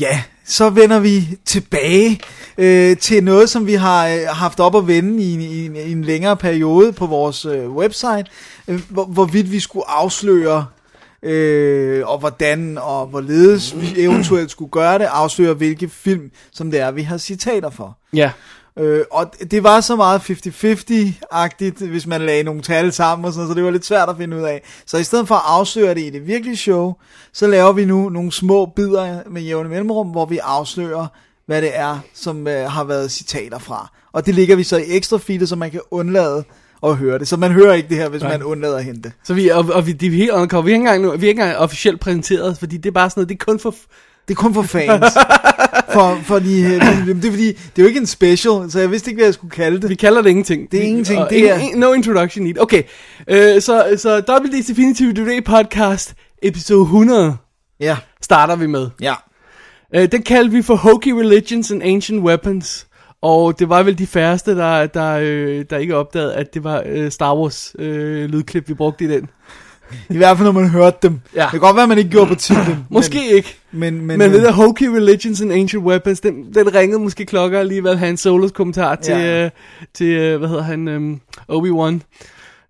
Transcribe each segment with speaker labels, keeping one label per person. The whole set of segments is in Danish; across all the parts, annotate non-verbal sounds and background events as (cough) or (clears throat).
Speaker 1: Ja, så vender vi tilbage øh, til noget, som vi har øh, haft op at vende i, en- i, en- i en længere periode på vores øh, website, øh, hvor, hvorvidt vi skulle afsløre, øh, og hvordan og hvorledes vi eventuelt skulle gøre det, afsløre hvilke film, som det er, vi har citater for.
Speaker 2: Ja.
Speaker 1: Øh, og det var så meget 50-50-agtigt, hvis man lagde nogle tal sammen og sådan noget, så det var lidt svært at finde ud af. Så i stedet for at afsløre det i det virkelige show, så laver vi nu nogle små bidder med jævne mellemrum, hvor vi afslører, hvad det er, som øh, har været citater fra. Og det ligger vi så i ekstra feedet, så man kan undlade at høre det. Så man hører ikke det her, hvis
Speaker 2: Nej.
Speaker 1: man undlader at hente det.
Speaker 2: Så vi, og, og vi, de er helt undercover. Vi er ikke engang, nu, vi er ikke engang officielt præsenteret, fordi det er bare sådan noget, det er kun for...
Speaker 1: Det er kun for fans. for, for de, det er fordi, det er jo ikke en special, så jeg vidste ikke, hvad jeg skulle kalde det.
Speaker 2: Vi kalder det ingenting.
Speaker 1: Det er ingenting,
Speaker 2: og
Speaker 1: det
Speaker 2: ingen-
Speaker 1: er-
Speaker 2: ingen- No introduction need. Okay, øh, så, så Double D's Definitive DVD podcast, episode 100,
Speaker 1: Ja,
Speaker 2: starter vi med.
Speaker 1: ja.
Speaker 2: Øh, den kaldte vi for Hokey Religions and Ancient Weapons. Og det var vel de færreste, der, der, øh, der ikke opdagede, at det var øh, Star Wars øh, lydklip, vi brugte i den.
Speaker 1: I hvert fald, når man hørte dem.
Speaker 2: Ja.
Speaker 1: Ja. Det kan godt være, at man ikke gjorde på titlen.
Speaker 2: Måske
Speaker 1: Men,
Speaker 2: ikke.
Speaker 1: men, øh, men,
Speaker 2: Men, det der Hokey Religions and Ancient Weapons, den, den ringede måske klokker alligevel Han Solos kommentar til,
Speaker 1: Ja.
Speaker 2: øh, til øh, hvad hedder han, øh, Obi-Wan,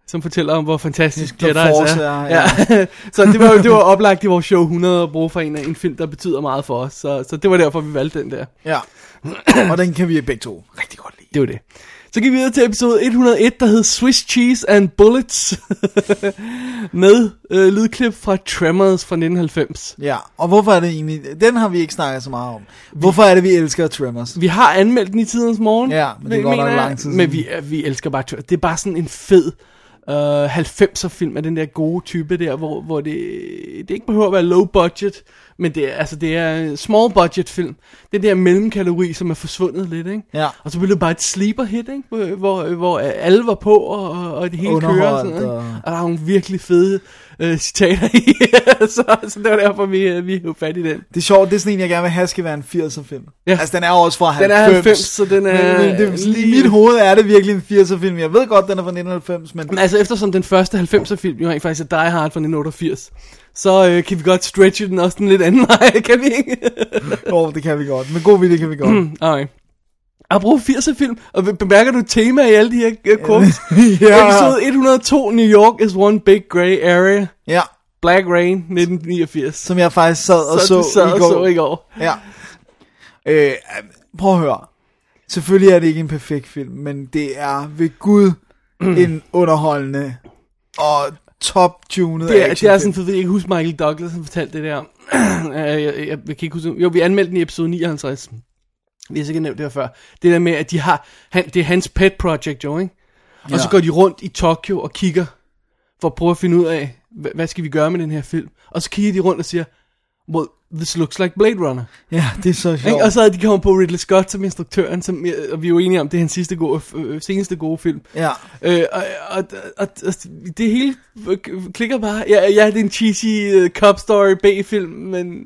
Speaker 2: som fortæller om, hvor fantastisk
Speaker 1: The
Speaker 2: Jedi's
Speaker 1: Force
Speaker 2: er.
Speaker 1: er, ja.
Speaker 2: (laughs) så det var, det var oplagt i vores show 100 at bruge for en, af- en film, der betyder meget for os. Så, så det var derfor, vi valgte den der.
Speaker 1: Ja. Og den kan vi begge to rigtig godt lide.
Speaker 2: Det var det. Så gik vi videre til episode 101, der hed Swiss Cheese and Bullets, (laughs) med øh, lydklip fra Tremors fra 1990.
Speaker 1: Ja, og hvorfor er det egentlig... Den har vi ikke snakket så meget om. Hvorfor er det, vi elsker Tremors?
Speaker 2: Vi har anmeldt den i tidens morgen.
Speaker 1: Ja, men det er godt
Speaker 2: mener
Speaker 1: nok
Speaker 2: jeg.
Speaker 1: lang tid siden.
Speaker 2: Men vi, øh, vi elsker bare Tremors. Det er bare sådan en fed øh, 90'er film af den der gode type der, hvor, hvor det, det ikke behøver at være low budget, men det er, altså, det er en small budget film. Den der mellemkategori, som er forsvundet lidt, ikke?
Speaker 1: Ja.
Speaker 2: Og så blev det bare et sleeper hit, ikke? Hvor, hvor, hvor alle var på, og, og- og det hele kører. Og, sådan,
Speaker 1: Underholdt,
Speaker 2: noget,
Speaker 1: og-
Speaker 2: ikke? og der er nogle virkelig fede øh, citater i, (laughs) så, så det var derfor, vi, øh, vi hævde fat i den.
Speaker 1: Det er sjovt, det er sådan en, jeg gerne vil have, skal være en 80'er film.
Speaker 2: Ja.
Speaker 1: Ja. Altså, den er jo også fra 90.
Speaker 2: Den er Øh, 90, så den er...
Speaker 1: Men, men det, lige... I mit hoved er det virkelig en 80'er film. Jeg ved godt, den er fra 1990, men...
Speaker 2: Men altså, eftersom den første 90'er film jo rent faktisk er Die Hard fra 1988, så øh, kan vi godt stretche den også en lidt anden (laughs) vej, kan vi ikke?
Speaker 1: Jo, det kan vi godt. Men god vilje kan
Speaker 2: (clears throat)
Speaker 1: vi godt.
Speaker 2: Nej. Apropos 80'er film, og bemærker du et tema i alle de her øh, quotes?
Speaker 1: ja.
Speaker 2: Episode 102, New York is one big gray area.
Speaker 1: ja,
Speaker 2: Black Rain 1989.
Speaker 1: som jeg faktisk sad og så,
Speaker 2: du sad
Speaker 1: i
Speaker 2: og
Speaker 1: går.
Speaker 2: så i går.
Speaker 1: Ja. Øh, prøv at høre. Selvfølgelig er det ikke en perfekt film, men det er ved Gud
Speaker 2: Mm.
Speaker 1: en underholdende og top-tunet
Speaker 2: Det er, det er
Speaker 1: actionfilm.
Speaker 2: sådan, fordi jeg ikke husker Michael Douglas, han fortalte det der. (clears throat) Øh, jeg, jeg, jeg, kan ikke huske, jo, vi anmeldte den i episode 59. Vi har sikkert nævnt det her før. Det der med, at de har, han, det er hans pet project jo, ikke? Og så
Speaker 1: Ja.
Speaker 2: går de rundt i Tokyo og kigger, for at prøve at finde ud af, hvad, hvad skal vi gøre med den her film? Og så kigger de rundt og siger, well, this looks like Blade Runner.
Speaker 1: Ja, det er så sjovt.
Speaker 2: Ikke? Og så havde de kommet på Ridley Scott som instruktøren, som, og vi er jo enige om, det er hans sidste gode, øh, seneste gode film.
Speaker 1: Ja.
Speaker 2: Øh, og, og, og, og det hele k- klikker bare. Ja, ja det er en cheesy uh, cop story B-film, men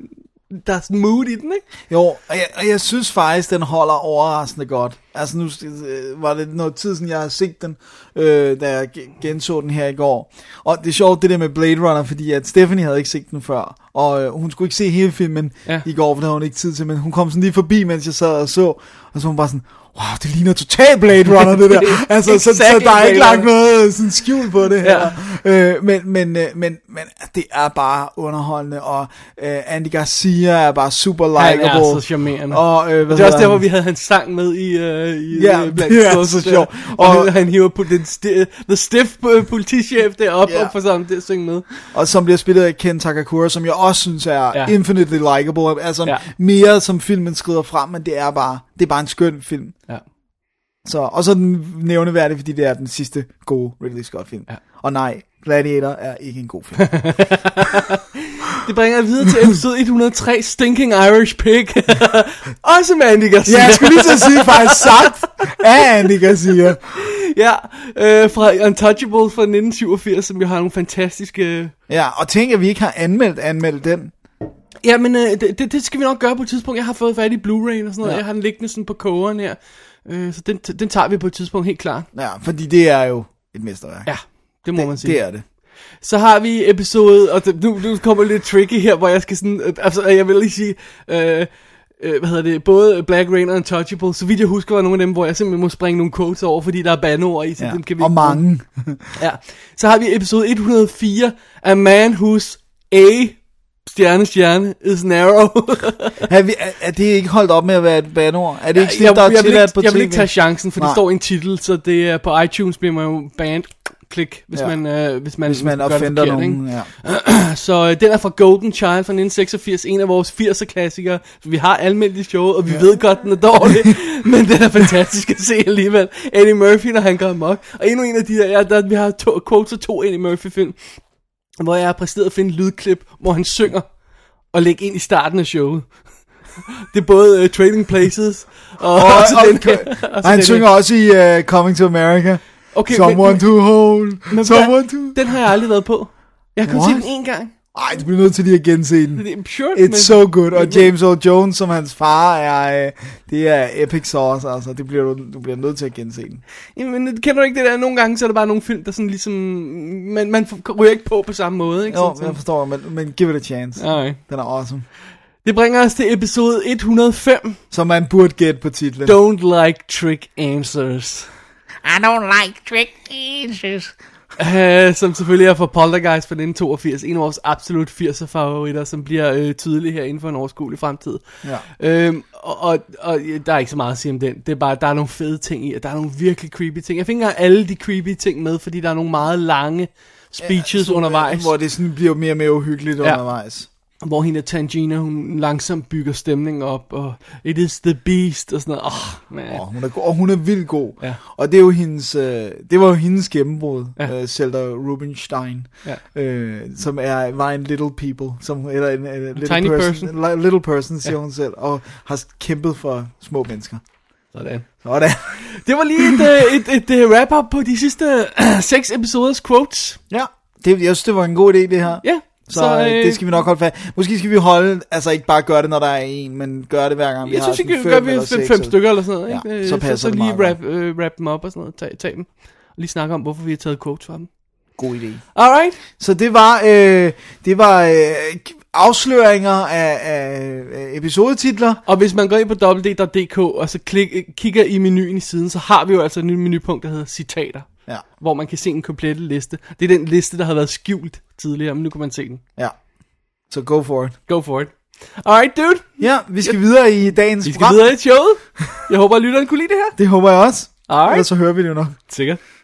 Speaker 2: der er sådan mood i den, ikke?
Speaker 1: Jo, og jeg, og jeg synes faktisk, den holder overraskende godt. Altså nu øh, var det noget tid siden, jeg har set den, øh, da jeg ge- genså den her i går. Og det er sjovt det der med Blade Runner, fordi at Stephanie havde ikke set den før. Og øh, hun skulle ikke se hele filmen
Speaker 2: Ja.
Speaker 1: ja. i går, for det havde hun ikke tid til. Men hun kom sådan lige forbi, mens jeg sad og så. Og så var hun bare sådan, wow, det ligner totalt Blade Runner det
Speaker 2: (laughs)
Speaker 1: der. altså, så, så
Speaker 2: Exactly
Speaker 1: der er ikke
Speaker 2: Blade
Speaker 1: lagt noget øh, sådan skjul på det her.
Speaker 2: Ja.
Speaker 1: Ja. Øh, men, men, øh, men, men det er bare underholdende, og øh, Andy Garcia er bare super
Speaker 2: Han
Speaker 1: likeable.
Speaker 2: er så charmerende. Og,
Speaker 1: Og, øh, hvad
Speaker 2: det er
Speaker 1: hedder
Speaker 2: også der, hvor
Speaker 1: han?
Speaker 2: vi havde hans sang med i, uh, i
Speaker 1: Ja,
Speaker 2: øh, Black
Speaker 1: det er
Speaker 2: Crowes,
Speaker 1: så
Speaker 2: øh,
Speaker 1: sjovt.
Speaker 2: Og,
Speaker 1: Og-
Speaker 2: han hiver på den sti- the stiff øh, politichef deroppe
Speaker 1: Ja.
Speaker 2: og får sammen til at synge med.
Speaker 1: Og som bliver spillet af Ken Takakura, som jeg også synes er
Speaker 2: Ja.
Speaker 1: ja. infinitely likable. Altså
Speaker 2: Ja.
Speaker 1: ja. mere som filmen skrider frem, men det er bare, det er bare en skøn film.
Speaker 2: Ja.
Speaker 1: Så, og så er den nævneværdig, fordi det er den sidste gode Ridley Scott film.
Speaker 2: Ja.
Speaker 1: Og nej, Gladiator er ikke en god film.
Speaker 2: Det bringer os videre til episode 103, Stinking Irish Pig. (laughs) også med Andy
Speaker 1: (laughs)
Speaker 2: Garcia.
Speaker 1: ja, jeg skulle lige så sige faktisk sagt af Andy Garcia.
Speaker 2: (laughs) Ja, øh, fra Untouchable fra 1987, som jo har nogle fantastiske...
Speaker 1: Ja, og tænk, at vi ikke har anmeldt, anmeldt den.
Speaker 2: Ja, men øh, det, det, det skal vi nok gøre på et tidspunkt. Jeg har fået fat i Blu-ray og sådan noget. Ja.
Speaker 1: Ja.
Speaker 2: Jeg har den liggende sådan på kogeren her. Øh, så den, den tager vi på et tidspunkt helt klart.
Speaker 1: Ja, fordi det er jo et mesterværk.
Speaker 2: Ja, det må man sige.
Speaker 1: det er det.
Speaker 2: Så har vi episode, og det, nu, nu kommer lidt tricky her, hvor jeg skal sådan, øh, altså jeg vil lige sige, øh, øh, hvad hedder det, både Black Rain og Untouchable, så vidt jeg husker, var nogle af dem, hvor jeg simpelthen må springe nogle quotes over, fordi der er bandeord i, så ja. dem kan vi
Speaker 1: og
Speaker 2: ikke bruge.
Speaker 1: mange.
Speaker 2: Ja. Så har vi episode 104, A Man Who's A, stjerne, stjerne, is an (laughs) arrow.
Speaker 1: er, vi, er, er det ikke holdt op med at være et banord? Er det ikke sådan, der er
Speaker 2: jeg, jeg, vil
Speaker 1: tilladt
Speaker 2: ikke,
Speaker 1: på
Speaker 2: jeg vil ikke
Speaker 1: TV?
Speaker 2: tage chancen, for Nej.
Speaker 1: Nej.
Speaker 2: det står i en titel, så det er på iTunes bliver man jo banned. Klik, hvis,
Speaker 1: Ja.
Speaker 2: man, øh, hvis man,
Speaker 1: Hvis man
Speaker 2: gør det
Speaker 1: offender
Speaker 2: forkert,
Speaker 1: nogen. Ja.
Speaker 2: Ikke? Så øh, den er fra Golden Child fra 1986, en af vores 80'er klassikere. Så vi har almindeligt i showet, og vi ja. ved godt, den er dårlig, (laughs) men den er fantastisk at se alligevel. Eddie Murphy, når han går amok. Og endnu en af de der, ja, der vi har to, quotes af to Eddie Murphy-film, hvor jeg har præsteret at finde et lydklip, hvor han synger og lægge ind i starten af showet. (laughs) Det er både uh, Trading Places (laughs) og, og,
Speaker 1: Og,
Speaker 2: også
Speaker 1: og,
Speaker 2: den her.
Speaker 1: og han
Speaker 2: den
Speaker 1: synger også i uh, Coming to America.
Speaker 2: Okay,
Speaker 1: Someone
Speaker 2: men,
Speaker 1: to hold.
Speaker 2: men,
Speaker 1: Someone to...
Speaker 2: den har jeg aldrig været på. Jeg har kun set
Speaker 1: What?
Speaker 2: den en gang.
Speaker 1: Ej, du bliver nødt til lige at gense den.
Speaker 2: Det er sure, men,
Speaker 1: It's so good. Og James Earl Jones som hans far er... Øh, det er epic sauce, altså. Det bliver du, du bliver nødt til at gense den.
Speaker 2: Jamen, kender du ikke det der? Nogle gange, så er der bare nogle film, der sådan ligesom... Man, man ryger ikke på på samme måde, ikke?
Speaker 1: Jo,
Speaker 2: Sådan-
Speaker 1: jeg forstår, men, men give it a chance.
Speaker 2: sådan. Alright.
Speaker 1: Den er awesome.
Speaker 2: Det bringer os til episode 105.
Speaker 1: Som man burde gætte på titlen.
Speaker 2: Don't like trick answers. (laughs)
Speaker 3: I don't like trick answers.
Speaker 2: Uh, som selvfølgelig er fra Poltergeist fra 1982. En af vores absolut 80'er favoritter, som bliver øh, tydelig her inden for en overskuelig fremtid.
Speaker 1: Ja.
Speaker 2: Øhm, og, og, og der er ikke så meget at sige om den. Det er bare, der er nogle fede ting i, og der er nogle virkelig creepy ting. Jeg fik ikke engang alle de creepy ting med, fordi der er nogle meget lange speeches ja, undervejs.
Speaker 1: Hvor det sådan bliver mere og mere uhyggeligt ja. undervejs.
Speaker 2: hvor hende Tangina, hun langsomt bygger stemningen op, og it is the beast, og sådan noget. Oh, man.
Speaker 1: Og hun er, go- og hun er vildt god.
Speaker 2: Ja.
Speaker 1: Og det, er jo hendes, øh, det var jo hendes gennembrud,
Speaker 2: Ja.
Speaker 1: ja. øh, Zelda Rubinstein,
Speaker 2: Ja.
Speaker 1: øh, som er, var en little people, som, eller en, en, en little
Speaker 2: tiny
Speaker 1: person,
Speaker 2: person.
Speaker 1: li- little person, siger ja. hun selv, og har kæmpet for små mennesker.
Speaker 2: Sådan.
Speaker 1: Sådan.
Speaker 2: Det var lige et, øh, et, et, et wrap-up på de sidste øh, seks episoders quotes.
Speaker 1: ja, det, jeg synes, det var en god idé, det her.
Speaker 2: Ja,
Speaker 1: Så, så øh, det skal vi nok holde fast. Måske skal vi holde, altså ikke bare gøre det, når der er en, men gøre det hver gang vi
Speaker 2: Jeg
Speaker 1: har
Speaker 2: synes ikke,
Speaker 1: sådan
Speaker 2: vi gør
Speaker 1: fem
Speaker 2: vi
Speaker 1: eller
Speaker 2: fem,
Speaker 1: seks
Speaker 2: fem
Speaker 1: eller-
Speaker 2: stykker eller sådan noget.
Speaker 1: Ja,
Speaker 2: ikke? Øh,
Speaker 1: så
Speaker 2: så,
Speaker 1: passer
Speaker 2: så
Speaker 1: det
Speaker 2: lige
Speaker 1: meget
Speaker 2: wrap, øh, wrap dem op og sådan noget. Tag, tag dem. Og lige snakke om, hvorfor vi har taget quotes fra dem.
Speaker 1: God idé.
Speaker 2: Alright.
Speaker 1: Så det var, øh, det var øh, afsløringer af, af af episodetitler.
Speaker 2: Og hvis man går ind på E www.dk og så klik, kigger i menuen i siden, så har vi jo altså et nyt menupunkt, der hedder citater.
Speaker 1: Ja,
Speaker 2: hvor man kan se en komplet liste. Det er den liste, der har været skjult tidligere, men nu kan man se den.
Speaker 1: ja. Så go for it.
Speaker 2: Go for it. Alright, dude.
Speaker 1: Ja, vi skal videre i dagens
Speaker 2: Vi skal videre i showet. Jeg håber, at lytteren kunne lide det her.
Speaker 1: Det håber jeg også.
Speaker 2: Alright.
Speaker 1: Ellers så hører vi det jo nok.
Speaker 2: Sikkert.